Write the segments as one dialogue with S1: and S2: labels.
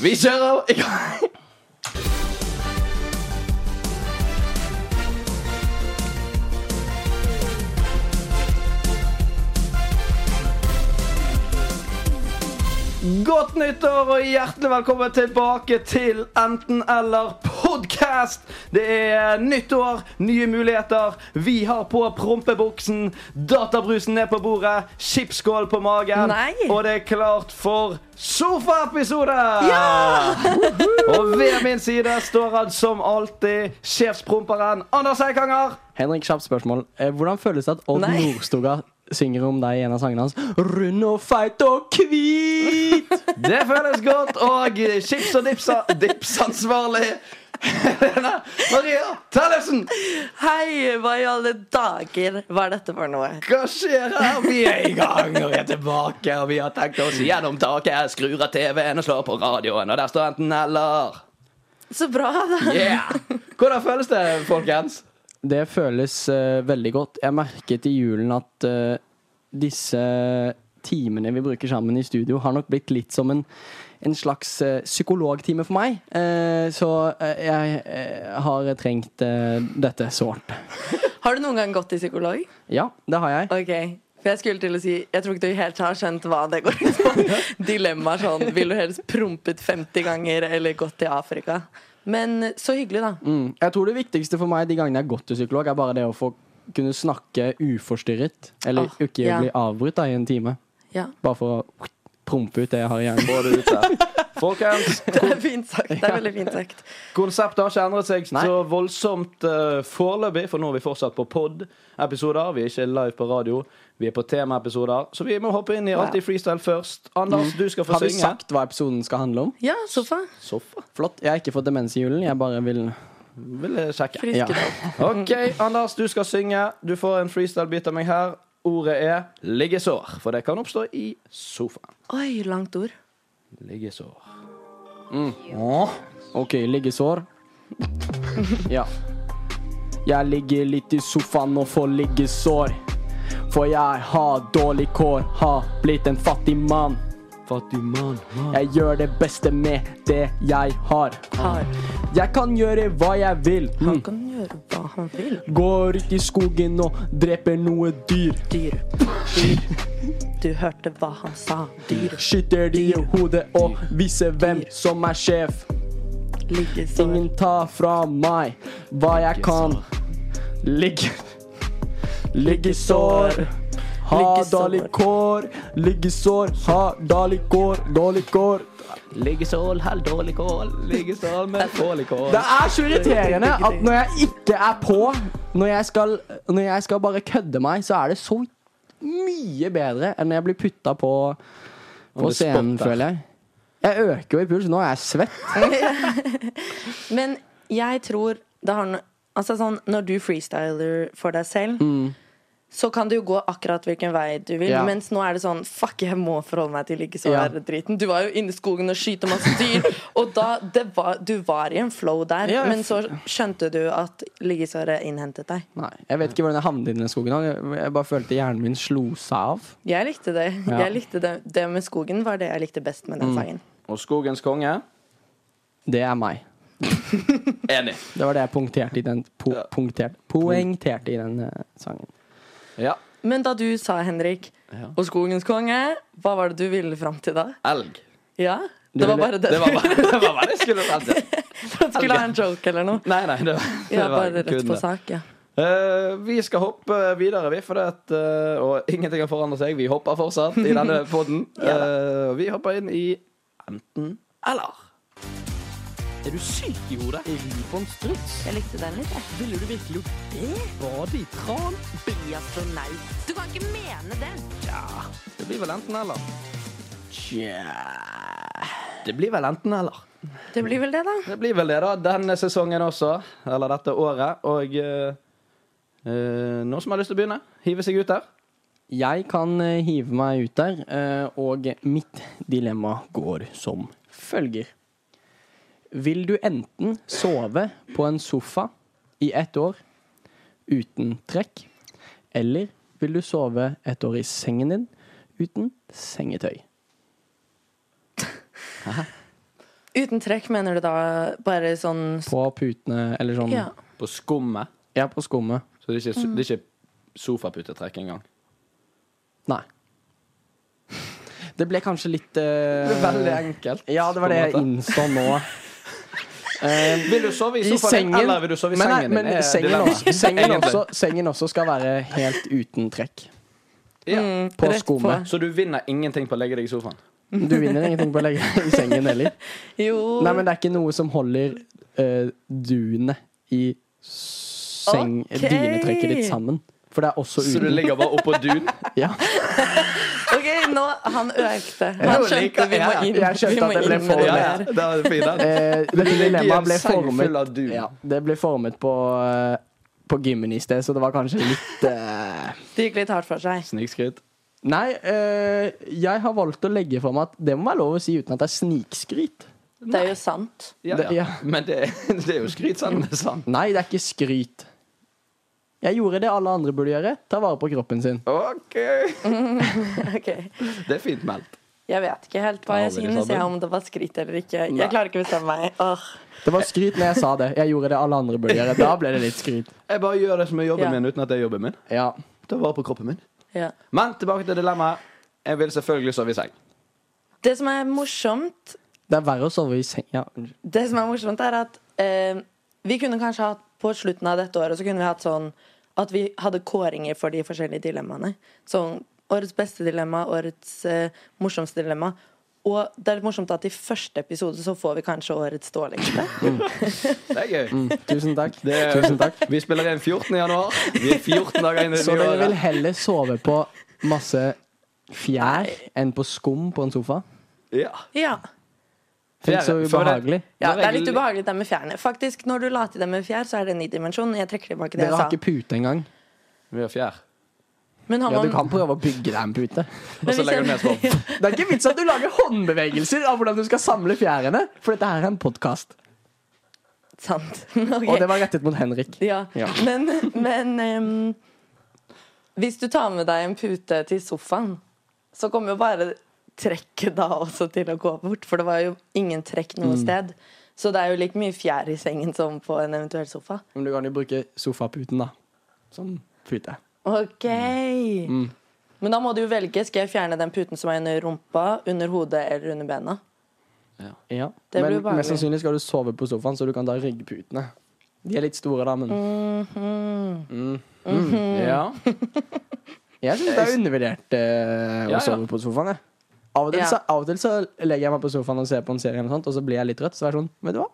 S1: Vi kjører i gang. Godt nyttår og hjertelig velkommen tilbake til Enten-eller-podkast. Det er nytt år, nye muligheter. Vi har på prompebuksen, databrusen ned på bordet, chipsskål på magen.
S2: Nei.
S1: Og det er klart for sofaepisode!
S2: Ja!
S1: og ved min side står han som alltid sjefspromperen Anders Eikanger.
S3: Henrik, kjapt spørsmål. Eh, hvordan føles det at Odd
S2: Nei.
S3: Nordstoga synger om deg i en av sangene hans? Rund og feit og hvit!
S1: Det føles godt. Og chips og dips dipsansvarlig Helene Maria Tellefsen.
S2: Hei, hva i alle dager var dette for noe?
S1: Hva skjer her? Vi er i gang, og vi er tilbake, og vi har tenkt oss gjennom taket. Skrur av TV-en og slår på radioen, og der står enten eller.
S2: Så bra, da.
S1: Yeah! Hvordan føles det, folkens?
S3: Det føles eh, veldig godt. Jeg merket i julen at eh, disse timene vi bruker sammen i studio, har nok blitt litt som en, en slags eh, psykologtime for meg. Eh, så eh, jeg eh, har trengt eh, dette sårt.
S2: Har du noen gang gått til psykolog?
S3: Ja, det har jeg.
S2: Ok, for jeg skulle til å si Jeg tror ikke du helt har skjønt hva det går ut på. Dilemmaer sånn Vil du helst prompet 50 ganger eller gått til Afrika? Men så hyggelig, da.
S3: Mm. Jeg tror det viktigste for meg de gangene jeg har gått til psykolog, er bare det å få kunne snakke uforstyrret. Eller
S2: Åh,
S3: ikke
S2: ja.
S3: bli avbrutt da, i en time.
S2: Ja,
S3: Bare for å prompe ut det jeg har i hjernen.
S1: Få det ut der. Folkens,
S2: Det er fint sagt. Det er veldig fint sagt.
S1: Konseptet har ikke endret seg
S3: Nei.
S1: så voldsomt eh, foreløpig, for nå er vi fortsatt på pod-episoder. Vi er ikke live på radio, vi er på temaepisoder. Så vi må hoppe inn i
S2: Wow.
S1: alltid freestyle først. Anders, du skal få
S3: Har vi
S1: synge.
S3: sagt hva episoden skal handle om?
S2: Ja, sofa.
S1: Sofa?
S3: Flott. Jeg har ikke fått demens i julen. Jeg bare vil
S1: Vil jeg sjekke.
S2: Frisk
S3: Ja.
S2: ut opp.
S1: OK, Anders, du skal synge. Du får en freestyle-bit av meg her. Ordet er liggesår, for det kan oppstå i sofaen.
S2: Oi, langt ord.
S1: Liggesår. Mm.
S3: OK, liggesår. Ja. Jeg ligger litt i sofaen og får liggesår. For jeg har dårlig kår, har blitt en fattig mann.
S1: Fattig mann.
S3: Jeg gjør det beste med det jeg har.
S2: Har.
S3: Jeg kan gjøre hva jeg vil.
S2: Han kan gjøre hva han vil.
S3: Går ut i skogen og dreper noe dyr.
S2: Dyr. Dyr. Du hørte hva han sa. Dyr.
S3: Skyter de i hodet og viser hvem som er sjef.
S2: Liggesår.
S3: Ingen tar fra meg hva jeg kan. Ligge Liggesår. Har
S2: Liggesår.
S3: dårlig kår. Liggesår. Har dårlig kår. Dårlig kår.
S1: Liggesål, hell dårlig kål. Liggesål med dårlig kål.
S3: Det er så irriterende at når jeg ikke er på, når jeg skal, når jeg skal bare kødde meg, så er det så mye bedre enn når jeg blir putta på, på
S1: du
S3: scenen,
S1: spotter.
S3: føler jeg. Jeg øker jo i puls. Nå er jeg svett.
S2: Men jeg tror det har no Altså sånn, Når du freestyler for deg selv, så kan det jo gå akkurat hvilken vei du vil.
S3: Ja.
S2: Mens nå er det sånn Fuck, jeg må forholde meg til
S3: Ja.
S2: liggesår-driten. Du var jo inne i skogen og skyter masse dyr. og da det var, Du var i en flow der.
S3: Ja, jeg
S2: men så skjønte du at liggesåret innhentet deg.
S3: Nei, Jeg vet ikke hvordan jeg havnet i den skogen. Jeg jeg bare følte hjernen min slo seg av.
S2: Jeg likte det.
S3: Ja.
S2: Jeg likte det. det med skogen var det jeg likte best med den sangen.
S1: Og skogens konge.
S3: Det er meg.
S1: Enig.
S3: Det var det jeg punkterte i den, po
S1: Ja.
S3: punkterte, poengterte i den eh, sangen.
S1: Ja.
S2: Men da du sa, Henrik,
S1: Ja.
S2: og skogens konge, hva var det du ville fram til da?
S1: Elg.
S2: Ja? Det var
S3: ville-
S2: bare
S1: Det
S2: det du
S1: var bare det, var bare det jeg skulle frem til.
S2: Han skulle ha en joke eller noe.
S1: Nei, nei, det var, det
S2: Ja,
S1: var
S2: bare rett
S1: kun
S2: på
S1: det.
S2: sak. Ja.
S1: Eh, vi skal hoppe videre, vi, for det at, eh, og ingenting har forandret seg. Vi hopper fortsatt i denne poden.
S2: Ja da.
S1: vi hopper inn i enten eller. Er du syk i hodet? Er du på en struts?
S2: Jeg likte den litt. Jeg.
S3: Ville du virkelig gjort det? Bade i tran?
S2: Bli astronaut. Du kan ikke mene det.
S1: Det blir vel enten eller. Det blir vel enten eller.
S2: Det blir vel det, da.
S1: Det blir vel det, da. Denne sesongen også. Eller dette året. Og eh, eh, noen som har lyst til å begynne? Hive seg ut der?
S3: Jeg kan eh, hive meg ut der, eh, og mitt dilemma går som følger. Vil du enten sove på en sofa i ett år uten trekk, eller vil du sove et år i sengen din uten sengetøy?
S2: Uten trekk mener du da bare sånn
S3: På putene, eller sånn
S2: Ja.
S1: På skummet.
S3: Ja, på skummet.
S1: Så det er ikke, det er ikke sofaputetrekk engang.
S3: Nei. Det ble kanskje litt eh,
S1: enkelt.
S3: Ja, det var det jeg
S1: på en
S3: innså nå. Eh,
S1: Vil du sove i
S3: I
S1: sofaen
S3: sengen.
S1: din, eller vil du sove i
S3: men nei,
S1: sengen din?
S3: men
S1: Er
S3: sengen,
S1: dilemmaet.
S3: også, sengen,
S1: Egentlig.
S3: også, sengen også skal være helt uten trekk.
S1: Ja.
S2: mm,
S3: På
S2: rett
S3: skummet.
S1: Så du vinner ingenting på å legge deg i sofaen?
S3: Du vinner ingenting på å legge deg i sengen heller.
S2: Jo.
S3: Nei, men det er ikke noe som holder eh, dunet i seng
S2: Ok.
S3: dynetrekket ditt sammen. For det er også
S1: Så du
S3: uten.
S1: ligger bare oppå dun?
S3: Ja.
S2: OK, nå Han økte.
S1: Ja,
S2: Han
S1: jo,
S2: skjønte
S1: like-
S2: vi må
S1: ja, ja.
S2: inn,
S3: Jeg skjønte
S2: vi må
S3: at det ble
S2: inn
S3: for
S2: med det
S3: mye.
S2: der.
S1: det er fin, den.
S3: Eh,
S1: ligger
S3: dette
S1: i en
S3: dilemmaet ble
S1: seng full av
S3: formet
S1: dun.
S3: ja, Det ble formet på, eh, på gymmen i sted, så det var kanskje litt eh,
S2: Det gikk litt hardt for seg.
S1: Snikskritt.
S3: Nei, eh, jeg har valgt å legge fram at det må være lov å si uten at det er snikskryt.
S2: Det er jo sant.
S1: Ja,
S3: Det-
S1: ja.
S3: ja.
S1: Men det, det er jo skryt, sant? Det er sant.
S3: Nei, det er ikke skryt. Jeg gjorde det alle andre burde gjøre. Ta vare på kroppen sin.
S1: OK.
S2: OK.
S1: Det er fint meldt.
S2: Jeg vet ikke helt hva
S1: Ja,
S2: jeg
S1: veldig
S2: synes, jeg,
S1: sabel.
S2: om det var skritt eller ikke.
S1: Nei.
S2: Jeg klarer ikke å bestemme meg. Åh.
S3: Det var skryt når jeg sa det. Jeg gjorde det alle andre burde gjøre. Da ble det litt skryt.
S1: Jeg bare gjør det som er jobben
S2: Ja.
S1: min, uten at det er jobben min.
S3: Ja.
S1: Ta vare på kroppen min.
S2: Ja.
S1: Men tilbake til dilemmaet. Jeg vil selvfølgelig sove i seng.
S2: Det som er morsomt,
S3: Det er verre å sove i seng. Ja. unnskyld.
S2: det som er morsomt er at eh, vi kunne kanskje hatt på slutten av dette året så kunne vi hatt sånn at vi hadde kåringer for de forskjellige dilemmaene. Sånn årets beste dilemma, årets eh, morsomste dilemma. Og det er litt morsomt at i første episode så får vi kanskje årets dårligste.
S1: Det er gøy.
S3: Mm, tusen takk.
S1: Det er,
S3: Tusen takk.
S1: Vi spiller inn 14. januar. Vi er 14 dager inn i det
S3: Så
S1: nye
S3: dere vil
S1: året.
S3: heller sove på masse fjær enn på skum på en sofa?
S1: Ja.
S2: Ja.
S3: Tenk så
S1: Fjær- for det-
S3: ubehagelig.
S2: ja.
S1: Når
S2: Det er
S1: jeg-
S2: litt ubehagelig det med fjærene. Faktisk, når du la til det med fjær, så er det en ny dimensjon. Jeg trekker tilbake det
S3: Dere
S2: jeg
S3: har
S2: sa.
S3: ikke pute engang.
S1: Vi har fjær.
S2: Men har
S3: Ja, du
S2: man-
S3: kan prøve å bygge deg en pute.
S1: Og så
S2: hvis
S1: legger du ned
S2: jeg-
S1: svar.
S3: Det er ikke vits at du lager håndbevegelser av hvordan du skal samle fjærene, for dette her er en podkast.
S2: Sant. Ok.
S3: Og det var rettet mot Henrik.
S2: Ja.
S3: Ja.
S2: Men, men em, hvis du tar med deg en pute til sofaen, så kommer jo bare trekket da også til å gå bort. For det var jo ingen trekk
S3: Mm.
S2: noe sted. Så det er jo like mye fjær i sengen som på en eventuell sofa.
S3: Men du kan jo bruke sofaputen, da. Som pute.
S2: Ok
S3: Mm.
S2: Men da må du jo velge. Skal jeg fjerne den puten som er under rumpa, under hodet eller under bena?
S3: Ja.
S2: Det blir
S3: Men
S2: ubehagelig.
S3: mest sannsynlig skal du sove på sofaen, så du kan ta ryggputene. De er litt store, da, men
S1: Mm.
S3: Mhm.
S1: Ja.
S3: Jeg syns det er undervurdert eh,
S1: Ja, ja.
S3: å sove på sofaen. Jeg. Av, og til,
S2: Ja.
S3: så, av og til så legger jeg meg på sofaen og ser på en serie, eller noe sånt, og så blir jeg litt trøtt. Så er det sånn, vet du hva?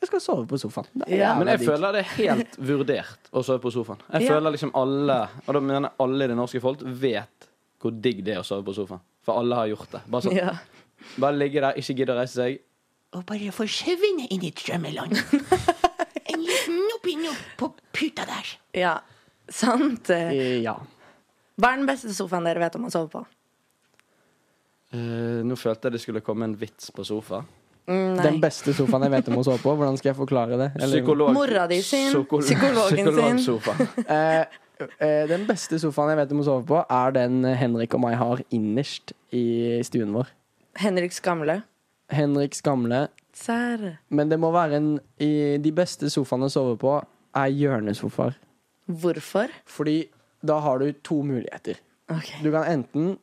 S3: Jeg skal sove på sofaen. Det er
S2: Ja.
S3: jævla
S1: Men jeg
S3: digg.
S1: føler det er helt vurdert å sove på sofaen. Jeg
S2: Ja.
S1: føler liksom alle Og da mener jeg alle i det norske folk vet hvor digg det er å sove på sofaen. For alle har gjort det. Bare, sånn,
S2: Ja.
S1: bare ligge der, ikke gidde å reise seg.
S4: og bare forsvinne inn i drømmeland. En liten nupp-nupp på puta der.
S2: ja. Sant. Hva
S3: Eh, Ja.
S2: er den beste sofaen dere vet om å sove på?
S1: Eh, nå følte jeg det skulle komme en vits på sofa.
S2: Mm, nei.
S3: Den beste sofaen jeg vet om å sove på. Hvordan skal jeg forklare det? Eller-
S1: Psykolog,
S2: Mora di sin,
S1: psykolo-
S2: psykologen sin.
S1: psykologsofa.
S3: Eh, eh, den beste sofaen jeg vet om å sove på, er den Henrik og meg har innerst i stuen vår.
S2: Henriks gamle.
S3: Henriks gamle.
S2: Serr.
S3: Men det må være en i, De beste sofaene å sove på er hjørnesofaer.
S2: Hvorfor?
S3: Fordi da har du to muligheter.
S2: Ok.
S3: Du kan enten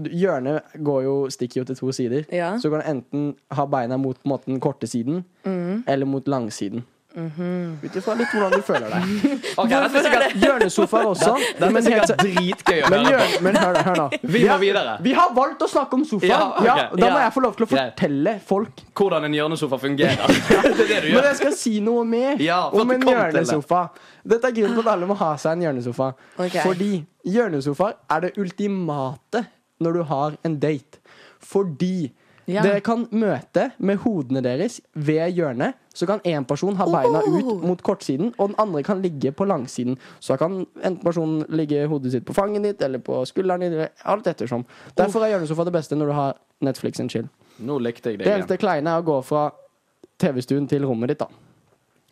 S3: du- Hjørnet går jo, stikker jo til to sider.
S2: Ja.
S3: Så du kan enten ha beina mot på en måte, den korte siden
S2: Mm.
S3: eller mot langsiden.
S2: Mhm.
S3: Ut ifra litt hvordan du føler deg.
S1: Ok, dette er sikkert,
S3: Hjørnesofaer også.
S1: dette
S3: men
S1: er
S3: helt-
S1: sikkert dritgøy å
S3: Men,
S1: høre på.
S3: gjør, men hør, hør nå.
S1: Vi må videre.
S3: Vi har valgt å snakke om sofaen. Ja,
S1: Ja, ok.
S3: da må
S2: Ja.
S3: jeg få lov til å
S1: Greit.
S3: fortelle folk.
S1: Hvordan en hjørnesofa fungerer. Det er det du
S3: Men
S1: gjør.
S3: jeg skal si noe mer
S1: Ja, for
S3: om
S1: at
S3: en
S1: du kom til det.
S3: hjørnesofa. Dette er grunnen til at alle må ha seg en hjørnesofa.
S2: Ok.
S3: Fordi hjørnesofaer er det ultimate når du har en date. Fordi
S2: Ja.
S3: dere kan møte med hodene deres ved hjørnet. Så kan én person ha beina
S2: Oh.
S3: ut mot kortsiden, og den andre kan ligge på langsiden. Så kan en person ligge hodet sitt på fanget ditt eller på skulderen din. eller Alt ettersom. Derfor er hjørnesofa det beste når du har Netflix and chill.
S1: Nå likte jeg deg
S3: Det
S1: igjen.
S3: eneste kleine er å gå fra TV-stuen til rommet ditt, da.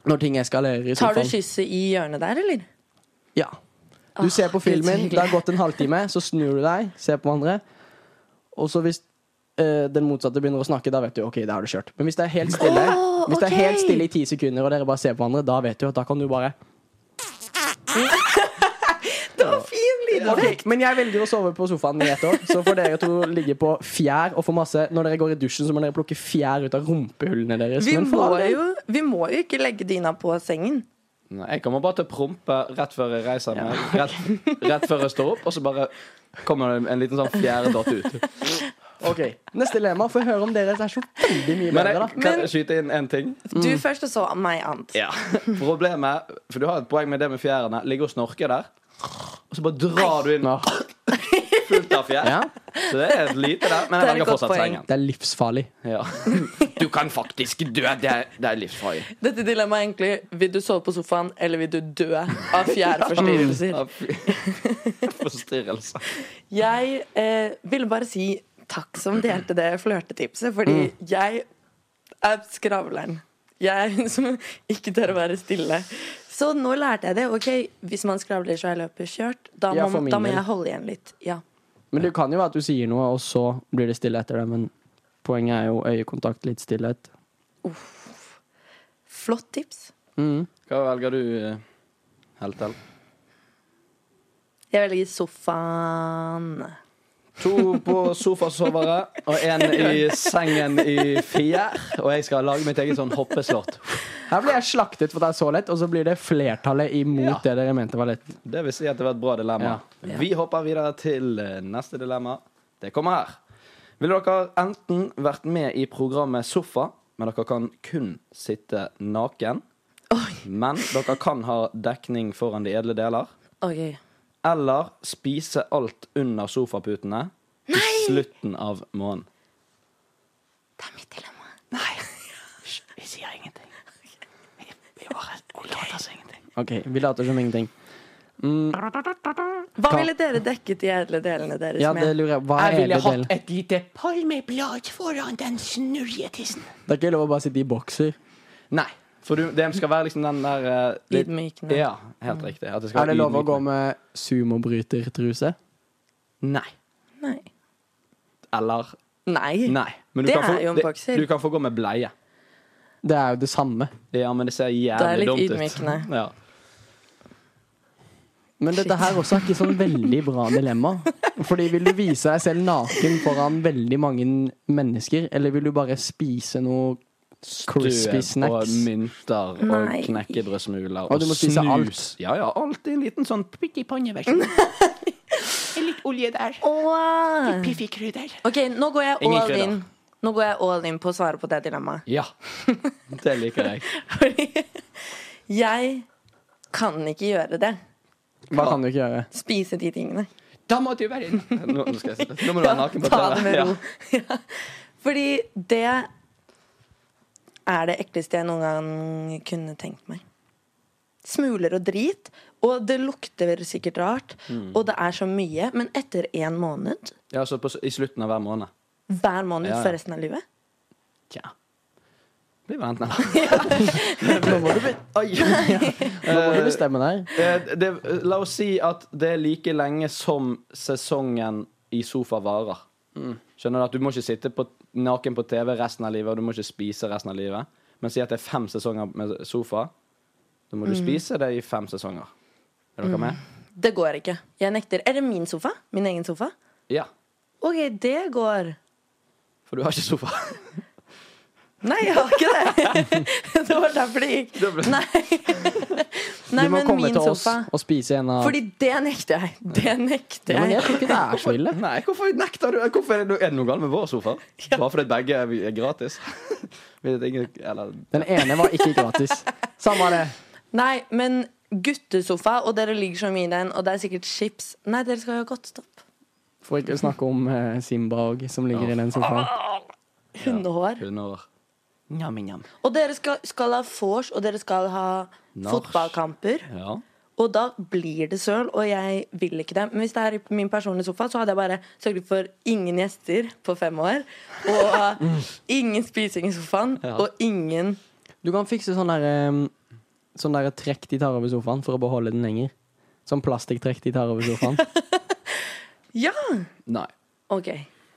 S3: Når ting eskalerer i
S2: Tar du
S3: sofaen.
S2: kysset i hjørnet der, eller?
S3: Ja.
S2: Ah,
S3: Du ser på
S2: Gud, så
S3: filmen,
S2: hyggelig.
S3: det har gått en halvtime, så snur du deg, ser på hverandre. Og så hvis eh, den motsatte begynner å snakke, da vet du ok, da har du kjørt. Men hvis det er helt stille
S2: Åh,
S3: Hvis det er helt
S2: Ah, ok.
S3: stille i ti sekunder, og dere bare ser på hverandre, da vet du at da kan du bare
S2: Det var fin
S3: Ok, Men jeg velger å sove på sofaen i ett år, så får dere to ligge på fjær og få masse Når dere går i dusjen, så må dere plukke fjær ut av rumpehullene deres.
S2: Vi
S3: Men for
S2: må,
S3: all del-
S2: jo, vi må jo ikke legge dyna på sengen.
S1: Nei, Jeg kommer bare til å prompe rett før jeg reiser meg. Rett, rett før jeg står opp, og så bare kommer det en liten sånn fjæredott ut.
S3: Ok, Neste dilemma. Få høre om deres er så veldig mye
S1: Men
S3: bedre,
S1: jeg,
S3: da.
S1: kan jeg skyte inn én ting?
S2: Du
S3: Mm.
S2: først, og så meg annet.
S1: Ja. Problemet For du har et poeng med det med fjærene. Ligge og snorke der, og så bare drar du inn fullt av fjær.
S3: Ja,
S1: Så det er et lite der. Men
S2: Det er
S1: jeg
S2: et
S1: velger
S2: godt
S1: fortsatt
S2: poeng.
S1: sengen.
S3: Det er livsfarlig.
S1: Ja. Du kan faktisk dø. Det er, det er livsfarlig.
S2: Dette dilemmaet er egentlig vil du sove på sofaen eller vil du dø av fjærforstyrrelser.
S1: Av Forstyrrelse.
S2: Jeg eh, ville bare si takk som delte det flørtetipset, fordi
S3: Mm.
S2: jeg er skravleren. Jeg er hun som ikke tør å være stille. Så nå lærte jeg det. Ok, Hvis man skravler så er løpet kjørt, da
S3: Ja,
S2: må,
S3: for min
S2: da må
S3: del.
S2: jeg holde igjen litt. Ja.
S3: Men det kan jo være at du sier noe, og så blir det stille etter det. Men poenget er jo øyekontakt, litt stillhet.
S2: Flott tips.
S3: Mm.
S1: Hva velger du, eh, Heltel?
S2: Jeg velger sofaen.
S1: To på sofasovere og en i sengen i fjær. Og jeg skal lage mitt eget sånn hoppeslott.
S3: Her blir jeg slaktet for at det er så lett, og så blir det flertallet
S1: Ja.
S3: imot det dere mente var lett.
S1: Det vil si at det var et bra dilemma.
S2: Ja.
S1: Vi hopper videre til eh, neste dilemma. Det kommer her. Ville dere enten vært med i programmet Sofa, men dere kan kun sitte naken. Men dere kan ha dekning foran de edle deler.
S2: Ok.
S1: Eller spise alt under sofaputene i slutten av måneden.
S2: Det er mitt dilemma.
S4: Vi sier ingenting. Vi bare later som ingenting.
S3: Ok, Vi later som ingenting.
S2: Hva
S3: Hva-
S2: ville dere dekket de edle delene deres
S3: Ja, det
S2: med?
S3: lurer jeg Hva er
S4: Jeg ville
S3: hele delen?
S4: hatt et lite palmeblad foran den snurjetissen.
S3: Det er ikke lov å bare sitte i bokser.
S1: Nei. For du, det skal være liksom den der eh, litt-
S2: Ydmykende.
S1: Ja,
S2: Mm.
S1: helt riktig. At det skal
S3: Er det
S1: være
S3: lov å
S1: ydmykende.
S3: gå med sumobrytertruse?
S1: Nei.
S2: Nei.
S1: Eller
S2: Nei.
S1: Nei. Men
S2: Det
S1: kan
S2: er jo en
S1: det-
S2: bokser.
S1: Du kan få gå med bleie.
S3: Det er jo det samme.
S1: Ja, men det ser jævlig
S2: Det er litt
S1: dumt ut.
S2: ydmykende.
S1: Ja.
S3: Men dette her også er ikke sånn veldig bra dilemma. Fordi vil du vise deg selv naken foran veldig mange mennesker, eller vil du bare spise noe
S1: Støv
S3: crispy
S1: Og
S3: snacks?
S1: mynter
S2: Nei.
S1: og knekkebrødsmuler og,
S3: Og du må spise
S1: snus.
S3: alt.
S1: Ja, ja. Alt i en liten sånn
S4: Pytt i panneversjon. Litt olje der.
S2: Åh.
S4: Piffi krydder.
S2: OK, nå går jeg
S1: Ingen
S2: all
S1: krydder.
S2: in. Nå går jeg all in på å svare på det dilemmaet.
S1: Ja. Det liker jeg.
S2: Fordi jeg kan ikke gjøre det.
S3: Hva kan du ikke gjøre?
S2: Spise de tingene.
S1: Da må du være Nå, nå, skal jeg, nå må du være naken på
S2: Ta det med
S1: Ja.
S2: ro. Ja. Fordi det er det ekleste jeg noen gang kunne tenkt meg. Smuler og drit. Og det lukter sikkert rart.
S1: Mm.
S2: Og det er så mye. Men etter én måned
S1: Ja, så på, s- I slutten av hver måned.
S2: Hver måned
S1: Ja, ja.
S2: for resten av livet?
S1: Tja. Blir vel enten eller.
S3: Nå må du, be-
S1: Oi.
S3: nå må du bestemme deg.
S1: Eh, det, la oss si at det er like lenge som sesongen i sofa varer. Skjønner du at du må ikke sitte på, naken på TV resten av livet, og du må ikke spise resten av livet. Men si at det er fem sesonger med sofa. Da må du spise det i fem sesonger. Er dere med?
S2: Det går ikke. Jeg nekter. Er det min sofa? Min egen sofa?
S1: Ja.
S2: OK, det går.
S1: For du har ikke sofa.
S2: Nei, jeg har ikke det. Det var derfor det gikk.
S1: Det ble-
S2: Nei, Nei
S3: Du må
S2: men
S3: komme
S2: min
S3: til oss
S2: sofa.
S3: og spise en av
S2: Fordi det nekter jeg. Det
S3: ja,
S2: nekter
S3: men Jeg
S2: jeg.
S3: tror ikke det er så ille.
S1: Nei, hvorfor nekter du? Hvorfor er, det, no- er det noe galt med vår sofa? Bare fordi begge er er gratis? Vet ikke, eller
S3: Den ene var ikke gratis. Samme det.
S2: Nei, men guttesofa, og dere ligger så mye i den, og det er sikkert chips. Nei, dere skal ha godt stopp.
S3: For ikke å snakke om eh, Simba og som ligger i den sofaen.
S2: Hundehår.
S1: hundeår. Njam-njam.
S2: Og dere skal, skal ha vors, og dere skal ha
S1: Nach.
S2: fotballkamper.
S1: Ja.
S2: Og da blir det søl, og jeg vil ikke det. Men hvis det er i min personlige sofa, så hadde jeg bare sørget for ingen gjester på fem år. Og ingen spising i sofaen,
S1: Ja.
S2: og ingen
S3: Du kan fikse sånn derre sånn der trekk de tar over sofaen for å beholde den lenger. Sånn plastikktrekk de tar over sofaen.
S2: Ja!
S1: Nei.
S2: OK.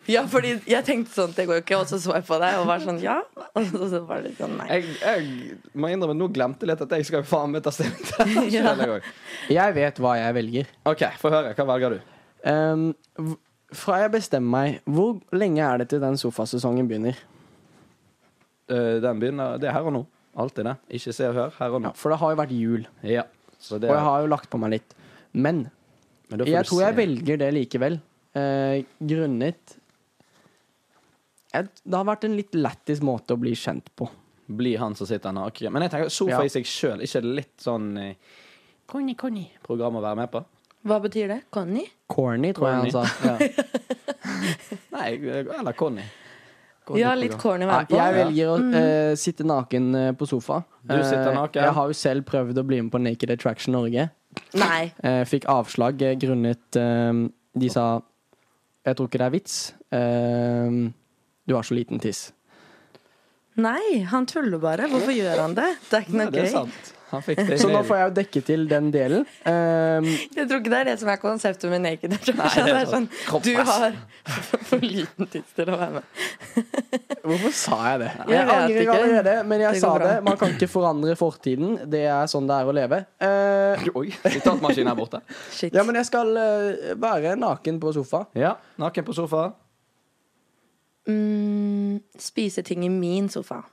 S2: Ja, fordi jeg tenkte sånn, det går jo ikke, og så så jeg på deg og var sånn ja. Og så var det sånn nei.
S1: Jeg, jeg må innrømme, nå glemte jeg litt at jeg skal jo faen meg ta stilling til det her
S2: Ja.
S1: selv en gang.
S3: Jeg vet hva jeg velger.
S1: OK, få høre. Hva velger du?
S3: Ehm, v- fra jeg bestemmer meg, hvor lenge er det til den sofasesongen begynner?
S1: Eh, den begynner Det er her og nå. Alltid det. Ikke se og hør. Her og nå.
S3: Ja, for det har jo vært jul,
S1: Ja. Så det,
S3: og jeg har jo lagt på meg litt. Men
S1: men da får
S3: jeg
S1: du
S3: tror jeg
S1: se.
S3: velger det likevel. eh, grunnet jeg, Det har vært en litt lættis måte å bli kjent på.
S1: Bli han som sitter naken. Men jeg tenker sofa
S3: Ja.
S1: i seg sjøl, ikke litt sånn eh,
S4: Conny, Conny.
S1: program å være med på?
S2: Hva betyr det? Conny?
S3: Corny, tror jeg han sa.
S1: Ja. Nei, eller Conny. Conny
S2: Ja, litt
S1: program.
S2: corny å
S3: Nei,
S2: være med på.
S3: jeg velger å eh, sitte naken eh, på sofa.
S1: Du sitter
S3: Eh,
S1: naken.
S3: jeg har jo selv prøvd å bli med på Naked Attraction Norge.
S2: Nei.
S3: Eh, fikk avslag eh, grunnet eh, De sa Jeg tror ikke det er vits. Eh, du har så liten tiss.
S2: Nei, han tuller bare. Hvorfor gjør han det? Det er ikke
S1: Nei,
S2: noe
S1: det er
S2: gøy.
S1: sant. Han fikk det
S3: Så nå
S1: inn.
S3: får jeg jo dekke til den delen. Eh,
S2: Jeg tror ikke det er det som er konseptet med naked. Jeg tror ikke det er sånn,
S1: Kropp,
S2: du
S1: ass.
S2: har for liten tids til å være med.
S3: hvorfor sa jeg det?
S2: Jeg vet
S3: angrer
S2: ikke.
S3: allerede, men jeg
S2: Det går
S3: sa
S2: bra.
S3: det. Man kan ikke forandre fortiden. Det er sånn det er å leve. Eh,
S1: Oi, sitatmaskinen her borte.
S2: Shit.
S3: ja, men jeg skal eh, være naken på sofa.
S1: Ja, naken på sofa.
S2: Mm, spise ting i min sofa.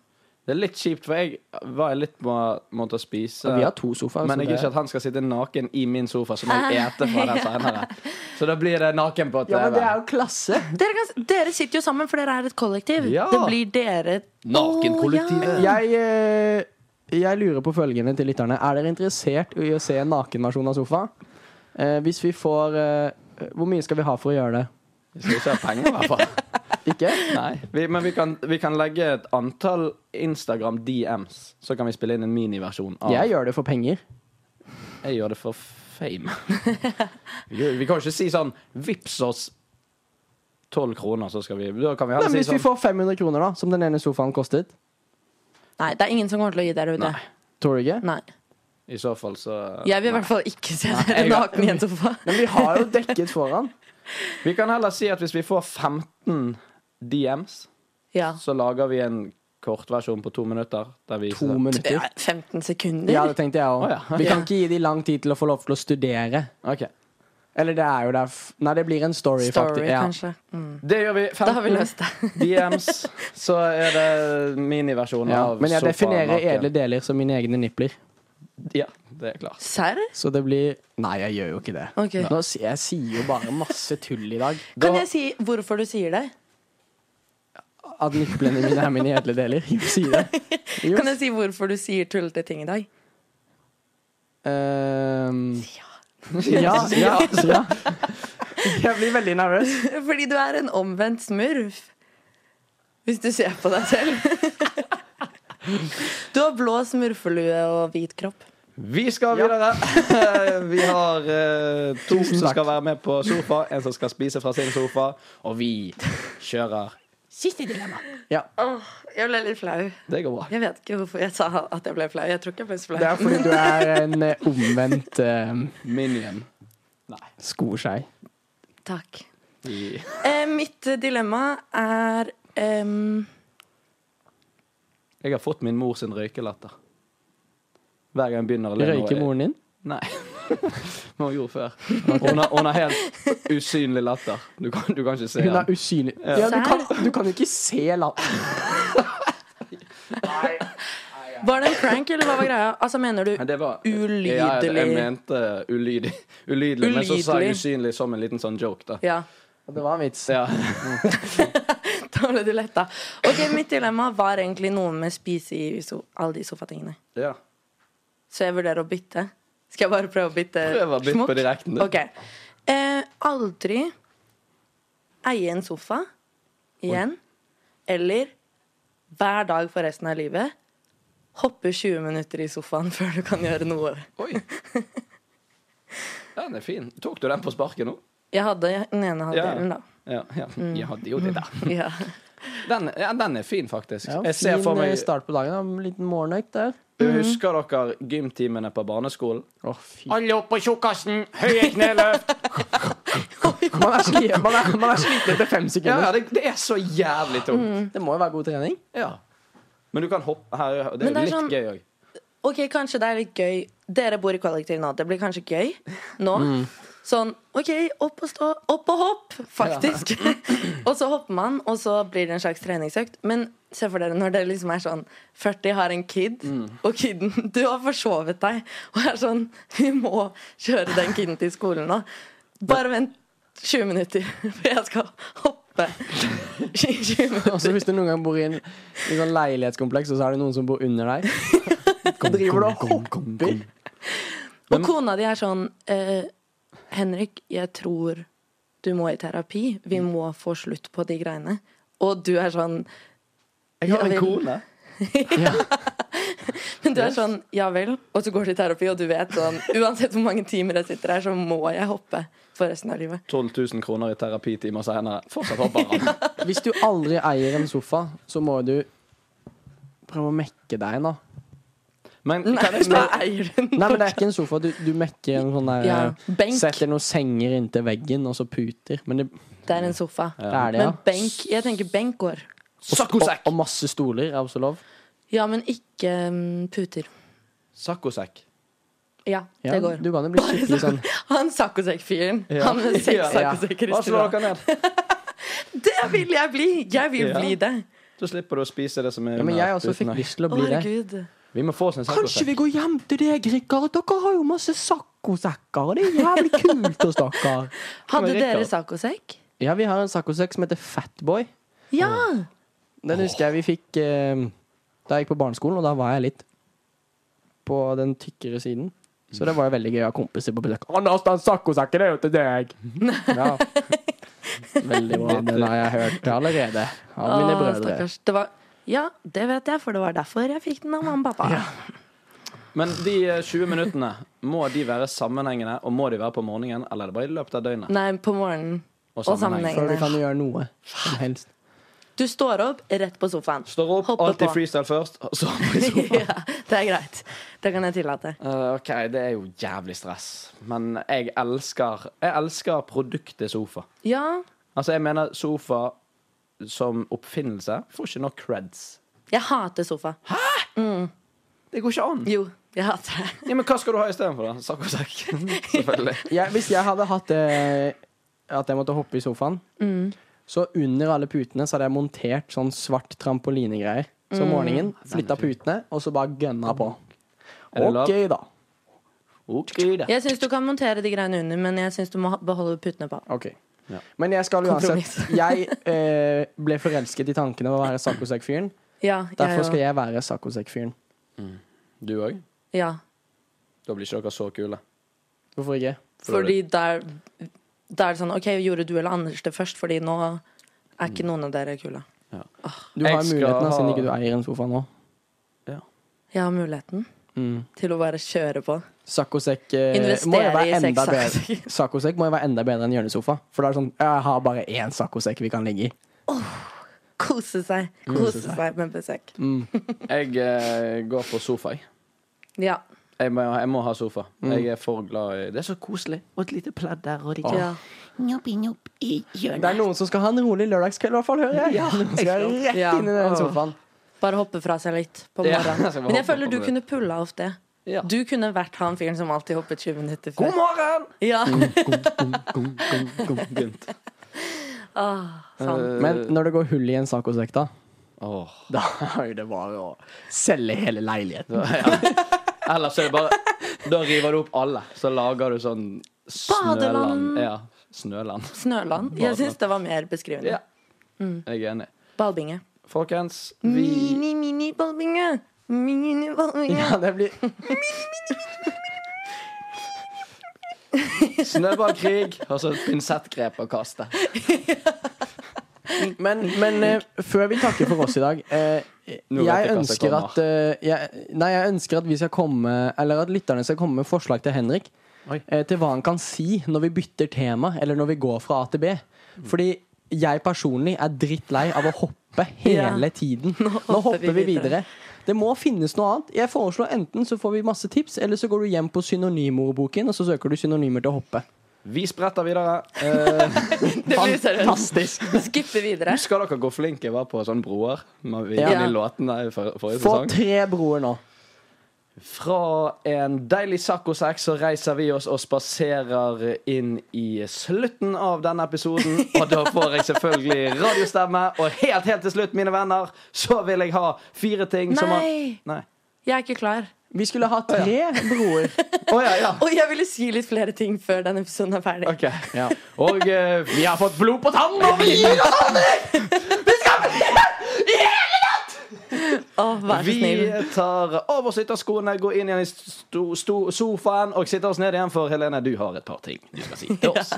S1: Det er litt kjipt, for jeg var litt på måte å spise.
S3: Vi har to sofaer.
S1: Men
S3: så
S1: jeg
S3: det-
S1: vil ikke at han skal sitte naken i min sofa, så må jeg ete fra den senere. Så da blir det naken på TV.
S3: ja, men det er jo klasse.
S2: Dere, kan, s- dere sitter jo sammen, for dere er et kollektiv.
S1: Ja.
S2: Det blir dere
S1: Nakenkollektivet.
S2: Å,
S3: Jeg, eh, jeg lurer på følgende til lytterne. Er dere interessert i å se en nakenversjon av sofa? Eh, hvis vi får eh, Hvor mye skal vi ha for å gjøre det?
S1: Vi skal ikke ha penger, i hvert fall.
S3: Ikke?
S1: Nei. Vi, men vi kan, vi kan legge et antall Instagram DMs, så kan vi spille inn en miniversjon. av
S3: Jeg gjør det for penger.
S1: Jeg gjør det for fame. Vi gjør- vi kan jo ikke si sånn Vips oss 12 kroner, så skal vi Da kan vi
S3: Nei,
S1: heller
S3: men
S1: si
S3: hvis vi
S1: sånn
S3: får 500 kroner, da, som den ene sofaen kostet
S2: ja. Nei, det er ingen som kommer til å gi dere det.
S1: Nei.
S3: Tror du ikke?
S2: Nei.
S1: I så fall, så
S2: Jeg vil i hvert fall ikke se dere
S1: jeg-
S2: naken i en sofa.
S3: Men vi har jo dekket foran.
S1: Vi kan heller si at hvis vi får 15 DMs,
S2: Ja.
S1: så lager vi en kortversjon på to minutter. Der vi
S3: To minutter.
S2: Ja, 15 sekunder.
S3: Ja, det tenkte jeg
S1: Å,
S3: òg.
S1: ja.
S3: Vi kan ikke gi de lang tid til å få lov til å studere.
S1: Ok.
S3: Eller det er jo der f Nei, det blir en
S2: Story,
S3: story, faktisk. Ja.
S2: kanskje. Mm.
S1: Det gjør vi. 15
S2: Da har vi løst det.
S1: DMs. Så er det miniversjonen
S3: Ja.
S1: av
S3: Men jeg
S1: sofaen
S3: definerer
S1: naken.
S3: edle deler som mine egne nipler.
S1: Ja, det er klart.
S2: Serr?
S3: Så det blir Nei, jeg gjør jo ikke det.
S2: Ok.
S3: Nå, sier- jeg sier jo bare masse tull i dag.
S2: Kan
S1: Da-
S2: jeg si hvorfor du sier det?
S3: At niplene mine er mine edle deler. Jo, sier det. Jo.
S2: Kan jeg si hvorfor du sier tullete ting i dag?
S3: Ehm, ja, ja, ja. Jeg blir veldig nervøs.
S2: Fordi du er en omvendt smurf. Hvis du ser på deg selv. Du har blå smurfelue og hvit kropp.
S1: Vi skal videre. vi har eh, to
S3: Tusen
S1: som
S3: takk.
S1: skal være med på sofa, en som skal spise fra sin sofa, og vi kjører.
S4: Siste dilemma.
S3: Ja,
S2: jeg ble litt flau.
S1: Det går bra.
S2: Jeg vet ikke hvorfor jeg sa at jeg ble flau. Jeg tror ikke jeg ble så
S3: det er
S2: flau.
S3: fordi du er en eh, omvendt ehm,
S1: Minion.
S3: skoskei.
S2: Takk.
S1: I-
S2: Eh, mitt dilemma er ehm,
S1: Jeg har fått min mor sin røykelatter. Hver gang jeg begynner å le nå-
S3: Røyker moren din?
S1: Nei. Men hun gjorde før. Hun, har, hun har helt usynlig latter. Du kan, du kan ikke se
S3: Hun
S1: den.
S3: er usynlig. Ja, du, kan, du kan jo ikke se latter.
S2: Var det en prank, eller hva var greia? Altså, mener du
S1: Men det var
S2: Ulydelig.
S1: Ja, jeg, jeg mente ulydig. Ulydelig, men så sa jeg
S2: Ulydelig.
S1: usynlig som en liten sånn joke, da.
S2: Ja.
S3: Det var en vits.
S1: Ja.
S2: Da ble du letta. Ok, mitt dilemma var egentlig noe med spise i so alle de sofatingene.
S1: ja.
S2: Så jeg vurderer å bytte. Skal jeg bare prøve å bytte
S1: Prøv å bytte
S2: smokk?
S1: på direkten, du.
S2: Ok. Eh, aldri eie en sofa igjen. Eller hver dag for resten av livet hoppe 20 minutter i sofaen før du kan gjøre noe.
S1: Oi. Ja, den er fin. Tok du den på sparket nå?
S2: Jeg hadde den
S1: Ja.
S2: ene halvdelen, da.
S1: Ja, ja. Jeg hadde jo det der.
S2: Ja.
S1: Den, ja, den er fin, faktisk.
S3: Ja,
S1: Jeg ser
S3: fin
S1: for
S3: eh,
S1: meg
S3: start på dagen. da. En liten morgenøkt der.
S1: Husker dere gymtimene på barneskolen?
S3: Å, fy.
S4: Alle opp på tjukkasen. Høye kneløft.
S3: Man er, sli, man er, man er sliten etter
S1: Ja,
S3: fem
S1: ja
S3: sekunder.
S1: det, det er så jævlig tungt.
S3: Det må jo være god trening.
S1: Ja. Men du kan hoppe her. Det er jo
S2: Men det er
S1: litt
S2: sånn-
S1: gøy òg.
S2: OK, kanskje det er litt gøy. Dere bor i kollektiv nå. Det blir kanskje gøy nå. Sånn OK, opp og stå. Opp og hopp, faktisk. og så hopper man, og så blir det en slags treningsøkt. Men se for dere når dere liksom er sånn 40, har en kid, og kiden Du har forsovet deg, og er sånn Vi må kjøre den kiden til skolen nå. Bare vent 20 minutter, for jeg skal hoppe. 20 minutter.
S3: Altså, hvis du noen gang bor i en, i en sånn leilighetskompleks, og så er det noen som bor under deg Hva driver du og hopper?
S2: Og kona di er sånn eh, Henrik, jeg tror du må i terapi. Vi må få slutt på de greiene. Og du er sånn
S1: Jeg har
S2: Ja,
S1: en
S2: vel.
S1: kone.
S2: Men du er sånn, ja vel. Og så går du i terapi, og du vet sånn Uansett hvor mange timer jeg sitter her, så må jeg hoppe for resten av livet.
S1: 12 000 kroner i terapitimer senere. Fortsatt hopper han.
S3: Hvis du aldri eier en sofa, så må du prøve å mekke deg en, da.
S1: Men
S2: Nei,
S1: kan jeg
S2: da
S1: spørre
S2: eier du den.
S3: Nei, men det er ikke en sofa. Du, du mekker en sånn der
S2: Ja, benk.
S3: Setter noen senger inntil veggen, og så puter. Men det,
S2: Det er en sofa.
S3: det er det, ja.
S2: Men benk Jeg tenker benk går.
S1: Saccosekk!
S3: Og, og masse stoler, er også lov.
S2: Ja, men ikke mm, puter.
S1: Saccosekk.
S2: Ja,
S3: Ja,
S2: det går.
S3: Du kan jo bli skikkelig sånn
S2: Han saccosekk-fyren. Han med
S1: Ja.
S2: seks saccosekker i
S1: Bare slå
S2: stua.
S1: dere ned.
S2: Det vil jeg bli! Jeg vil
S1: Ja.
S2: bli det.
S1: Så slipper du å spise det som er
S3: ja, Men
S1: under
S3: jeg også fikk
S1: putene.
S3: lyst til å
S2: Å,
S3: bli det.
S2: herregud.
S1: Vi må få oss en saccosekk.
S3: går hjem til deg, Rikard. Dere har jo masse saccosekker. Det er jævlig kult, og stakkar.
S2: Hadde
S1: Men Rikard-
S2: dere saccosekk?
S3: Ja, vi har en saccosekk som heter Fatboy.
S2: Ja!
S3: Den husker jeg vi fikk eh, da jeg gikk på barneskolen, og da var jeg litt på den tykkere siden. Så det var jo veldig gøy å ha kompiser på besøk. Han har en saccosekk, det er jo til deg! Ja. Veldig bra. Den har jeg hørt allerede av mine
S2: Å,
S3: brødre.
S2: stakkars. Det var ja, det vet jeg, for det var derfor jeg fikk den av mamma og pappa.
S1: Men de eh, 20 minuttene, må de være sammenhengende, og må de være på morgenen, eller er det bare i løpet av døgnet?
S2: Nei, på morgenen.
S1: Og
S2: Og
S1: sammenheng.
S3: Før du kan
S2: sammenhengende.
S3: gjøre noe som helst.
S2: Du står opp rett på sofaen.
S1: Står opp,
S2: Hopper
S1: alltid
S2: på.
S1: freestyle først, og så
S2: ja, det er greit. Det kan jeg tillate.
S1: Eh, OK, det er jo jævlig stress, men jeg elsker Jeg elsker produktet sofa.
S2: Ja,
S1: Altså, jeg mener sofa som oppfinnelse får ikke nok creds.
S2: jeg hater sofa.
S1: Det går ikke an.
S2: Jo, jeg hater det.
S1: Ja, men hva skal du ha istedenfor, da? Saccosekk. Selvfølgelig.
S3: Jeg, hvis jeg hadde hatt det at jeg måtte hoppe i sofaen,
S2: Mm.
S3: så under alle putene så hadde jeg montert sånn svart trampolinegreier. Så
S2: Mm.
S3: om morgenen flytta putene, og så bare gønna på.
S1: Er det lov?
S3: OK, da.
S1: OK, da.
S2: Jeg syns du kan montere de greiene under, men jeg syns du må ha- beholde putene på.
S3: Ok.
S1: Ja.
S3: Men jeg skal uansett
S2: Kompromiss.
S3: Jeg eh, ble forelsket i tanken av å være saccosekk-fyren.
S2: Ja,
S3: Derfor skal
S2: jeg,
S3: jeg være saccosekk-fyren.
S1: Du òg?
S2: jo. ja.
S1: Da blir ikke dere så kule.
S3: Hvorfor ikke?
S2: Fordi der, der er det sånn OK, gjorde du eller Anders det først? Fordi nå er ikke noen av dere kule.
S3: Du
S1: Jeg
S3: har
S1: skal
S3: muligheten, da, siden
S1: ha-
S3: ikke du eier en sofa nå.
S2: Jeg har muligheten
S3: Mm.
S2: til å bare kjøre på.
S3: Saccosekk eh,
S2: Investere
S3: må jo være
S2: i seks
S3: enda bedre
S2: saccosekker.
S3: Saccosekk må jo være enda bedre enn hjørnesofa. For da er det sånn Jeg har bare én saccosekk vi kan ligge i.
S2: Kose seg.
S1: Mm.
S2: Kose seg med besøk.
S1: Jeg eh, går for sofa, jeg.
S2: Ja.
S1: Jeg må, jeg må ha sofa. Jeg er for glad i Det er så koselig.
S4: Og et lite pledd der
S1: Ah.
S4: og litt
S2: ja.
S4: Njopp, njopp i hjørnet.
S3: Det er noen som skal ha en rolig lørdagskveld, i hvert fall, hører jeg. noen skal rett
S2: Ja.
S3: inn i den sofaen.
S2: Bare hoppe fra seg litt på
S1: Ja,
S2: morgenen.
S1: jeg skal bare
S2: Men jeg
S1: hoppe
S2: føler
S1: på
S2: du
S1: det.
S2: kunne pulla off det.
S1: Ja.
S2: Du kunne vært han fyren som alltid hoppet 20 minutter
S1: God
S2: før.
S1: morgen!
S2: Ja,
S1: Gunt.
S2: sånn.
S3: Men når det går hull i en saccosekk, da,
S1: Åh.
S3: da er det bare å selge hele leiligheten.
S1: Ellers er det bare Da river du opp alle. Så lager du sånn snøland.
S2: Badeland.
S1: Ja, snøland.
S2: Snøland. Jeg syns det var mer
S1: Eh,
S2: beskrivende.
S1: Ja. Jeg er enig.
S2: Ballbinge.
S1: Folkens, vi
S2: Mini, mini ballbinge. Mini ballbinge.
S3: Ja, det blir
S1: Snøballkrig, altså og så et pinsettgrep å kaste.
S3: Men, men eh, før vi takker for oss i dag eh,
S1: Nå vet
S3: jeg,
S1: jeg hva som
S3: ønsker
S1: kommer.
S3: at, eh, jeg, nei, jeg ønsker at vi skal komme Eller at lytterne skal komme med forslag til Henrik.
S1: Oi.
S3: Eh, til hva han kan si når vi bytter tema, eller når vi går fra A til B. Fordi jeg personlig er drittlei av å hoppe hele tiden. Nå hopper, vi videre. Det må finnes noe annet. Jeg foreslår Enten så får vi masse tips, eller så går du hjem på synonymordboken og så søker du synonymer til å hoppe.
S1: Vi spretter videre. Eh,
S2: Det blir seriøst.
S3: Fantastisk.
S2: Skippe videre.
S1: skal dere gå flink? Jeg var på sånn broer med
S3: Ja.
S1: de låtene i for, forrige
S3: Få
S1: sesong.
S3: tre broer nå.
S1: Fra en deilig saccosekk så reiser vi oss og spaserer inn i slutten av denne episoden. Og da får jeg selvfølgelig radiostemme. Og helt, helt til slutt, mine venner, så vil jeg ha fire ting som har
S2: Nei.
S1: Nei.
S2: Jeg er ikke klar.
S3: Vi skulle ha tre broer.
S1: Å ja, ja.
S2: Og jeg ville si litt flere ting før denne episoden er ferdig.
S1: Ok. Og eh, vi har fått blod på tannen, og vi gir oss
S2: Åh, vær så snill.
S1: Vi tar av oss ytterskoene, går inn igjen i sto, sto, sofaen og sitter oss ned igjen, for Helene, du har et par ting du skal si til oss.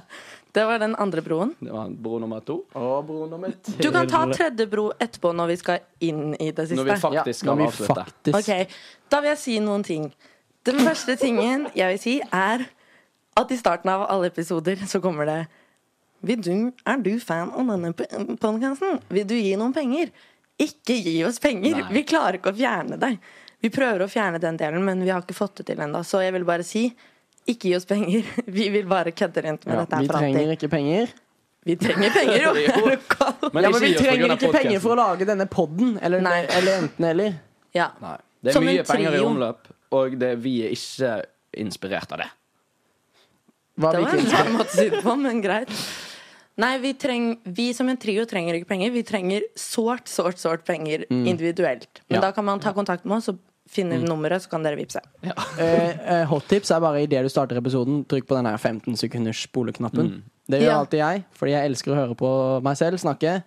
S2: Det var den andre broen.
S1: Det var bro nummer to.
S3: Og bro nummer tre.
S2: Du kan ta tredje bro etterpå når vi skal inn i det
S1: Når vi
S2: siste.
S1: faktisk
S3: Ja,
S1: skal
S3: når vi
S1: avslutte.
S3: faktisk-
S2: Ok, Da vil jeg si noen ting. Den første tingen jeg vil si, er at i starten av alle episoder så kommer det vil du, Er du fan av denne podkasten? Vil du gi noen penger? Ikke gi oss penger!
S1: Nei.
S2: Vi klarer ikke å fjerne deg. Vi prøver å fjerne den delen, men vi har ikke fått det til ennå. Så jeg vil bare si ikke gi oss penger. Vi vil bare kødde rundt med
S3: Ja,
S2: dette her
S3: vi
S2: for alltid.
S3: trenger ikke penger.
S2: Vi trenger penger, jo! Er du gal?
S1: Men
S3: Ja,
S1: ikke
S3: men Vi
S1: gi oss på grunn
S3: trenger
S1: av
S3: ikke
S1: podcasten.
S3: penger for å lage denne podden. Eller,
S2: Nei.
S3: eller enten eller.
S2: Ja.
S1: Nei. Det er
S2: Som en
S1: mye penger i
S2: trio.
S1: omløp, og det, vi er ikke inspirert av det.
S3: Hva
S2: Det
S3: vi
S2: var en
S3: kunne-
S2: rar måte å si det på, men greit. Nei, vi, treng, vi som en trio trenger ikke penger. Vi trenger sårt, sårt, sårt penger individuelt. Men
S3: Ja.
S2: da kan man ta kontakt med oss og finne nummeret, så kan dere vippse.
S3: Eh, eh, hot tips er bare idet du starter episoden, trykk på den her 15 sekunders spoleknappen.
S1: Mm.
S3: Det gjør
S2: Ja.
S3: alltid jeg, fordi jeg elsker å høre på meg selv snakke.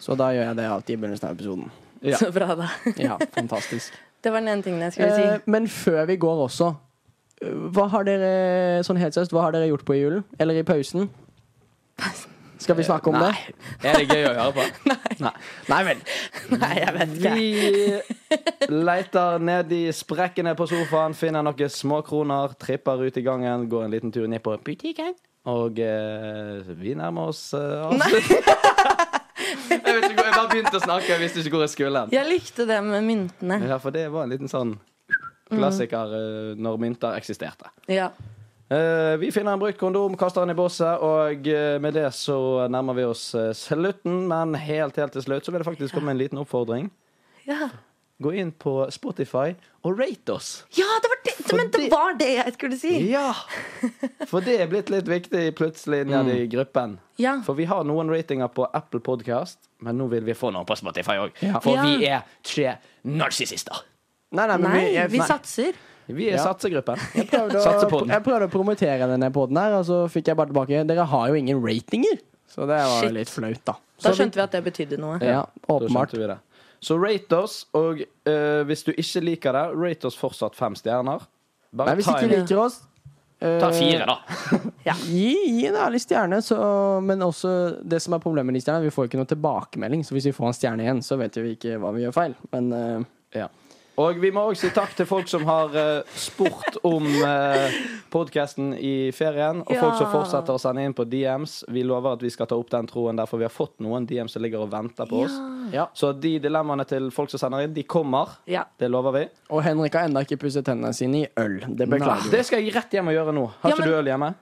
S3: Så da gjør jeg det alltid i begynnelsen av episoden.
S1: Ja.
S2: Så bra, da.
S3: Ja, fantastisk
S2: Det var den ene tingen jeg skulle
S3: eh,
S2: si.
S3: Men før vi går også, eh, hva har dere sånn helt seriøst, hva har dere gjort på i julen? Eller i pausen? Skal vi snakke om
S1: Eh, Nei.
S3: det?
S1: Er det gøy å høre på?
S3: Nei vel.
S2: Nei, jeg vet ikke.
S1: Vi leter ned i sprekkene på sofaen, finner noen småkroner, tripper ut i gangen, går en liten tur ned på butikken, og eh, vi nærmer oss eh, avslutning. jeg vet ikke, hvor- jeg bare begynte å snakke, jeg visste ikke hvor jeg skulle.
S2: Jeg likte det med myntene.
S1: Ja, for det var en liten sånn klassiker eh, når mynter eksisterte.
S2: Ja.
S1: Eh, vi finner en brukt kondom, kaster den i bosset, og eh, med det så nærmer vi oss eh, slutten. Men helt, helt til slutt så vil det faktisk komme en liten oppfordring
S2: Ja.
S1: gå inn på Spotify og rate oss.
S2: ja, det var det! Men det
S1: Fordi-
S2: var det jeg skulle si!
S1: Ja! For det er blitt litt viktig plutselig ned i gruppen.
S2: Ja.
S1: For vi har noen ratinger på Apple Podcast, men nå vil vi få noen på Spotify òg.
S3: Ja.
S1: For
S2: Ja.
S1: vi er tre narsissister.
S3: Nei, nei, men
S2: Nei,
S3: jeg-
S2: vi
S3: nei.
S2: satser.
S1: Vi er
S3: Ja.
S1: satsegruppen.
S3: Jeg prøvde,
S1: Satser
S3: å,
S1: på den.
S3: jeg prøvde å promotere denne poden her, og så fikk jeg bare tilbake Dere har jo ingen ratinger. Så det var
S2: Shit.
S3: jo litt flaut, da.
S2: Da skjønte vi at det betydde noe.
S3: Ja,
S1: Da
S3: åpenbart.
S1: skjønte vi det. Så rate oss, og eh, hvis du ikke liker det, rate oss fortsatt fem stjerner. Bare
S3: Nei, hvis
S1: ta,
S3: ikke
S1: en,
S3: liker oss eh,
S1: ta fire, da.
S3: Gi, gi en ærlig stjerne, så, men også det som er problemet med de stjernene, vi får ikke noe tilbakemelding. Så hvis vi får en stjerne igjen, så vet vi ikke hva vi gjør feil. Men eh,
S1: Ja. Og vi må òg si takk til folk som har eh, spurt om uh, podkasten i ferien. Og folk som
S2: Ja.
S1: fortsetter å sende inn på DMs. Vi lover at vi skal ta opp den troen der, for vi har fått noen DMs som ligger og venter på oss.
S3: ja.
S1: Så de dilemmaene til folk som sender inn, de kommer.
S2: Ja.
S1: Det lover vi.
S3: Og Henrik har enda ikke pusset tennene sine i øl. Det beklager vi.
S1: Det skal jeg rett hjem og gjøre nå. Har
S2: Ja,
S1: ikke
S2: men-
S1: du øl hjemme?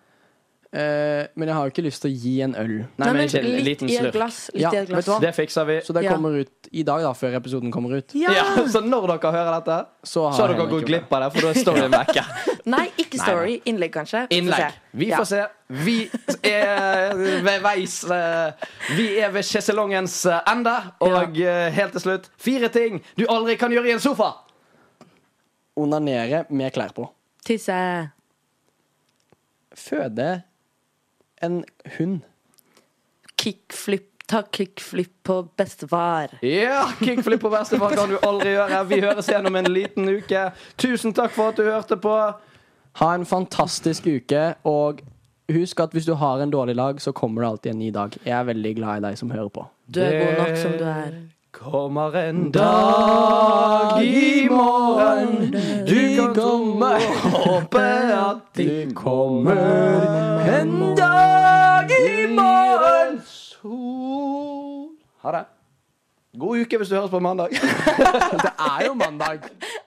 S3: Eh, men jeg har jo ikke lyst til å gi en øl.
S1: Nei, men
S2: men
S1: ikke en
S2: litt
S1: liten
S2: i et
S1: slurk.
S2: glass. Litt
S3: Ja,
S2: i et
S3: vet
S2: glass.
S3: du hva?
S1: Det fikser vi.
S3: Så det
S2: Ja.
S3: kommer ut i dag, da, før episoden kommer ut.
S2: Ja!
S1: Ja, så når dere hører dette,
S3: Så har
S1: så har dere
S3: Henrik
S1: gått
S3: gjort
S1: glipp av det, for da er storyen vekke.
S2: Nei, ikke story. Innlegg, kanskje. Vi får
S1: Innlegg.
S2: se.
S1: Vi
S2: Ja.
S1: får se. Vi er ved veis eh, Vi er ved sjeselongens eh, ende. Og eh, helt til slutt fire ting du aldri kan gjøre i en sofa.
S3: Onanere med klær på.
S2: Tisse.
S3: føde en hund.
S2: Kickflip. Ta kickflip på bestefar.
S1: Ja, kickflip på bestefar kan du aldri gjøre. Vi høres igjen om en liten uke. Tusen takk for at du hørte på.
S3: Ha en fantastisk uke, og husk at hvis du har en dårlig dag, så kommer det alltid en ny dag. Jeg er veldig glad i deg som hører på.
S2: Du er god nok som du er.
S1: Kommer en dag i morgen, du kan
S3: kommer,
S1: håpe at de
S3: kommer en
S1: dag i morgen sol Ha det. God uke hvis du høres på mandag.
S3: Det er jo mandag.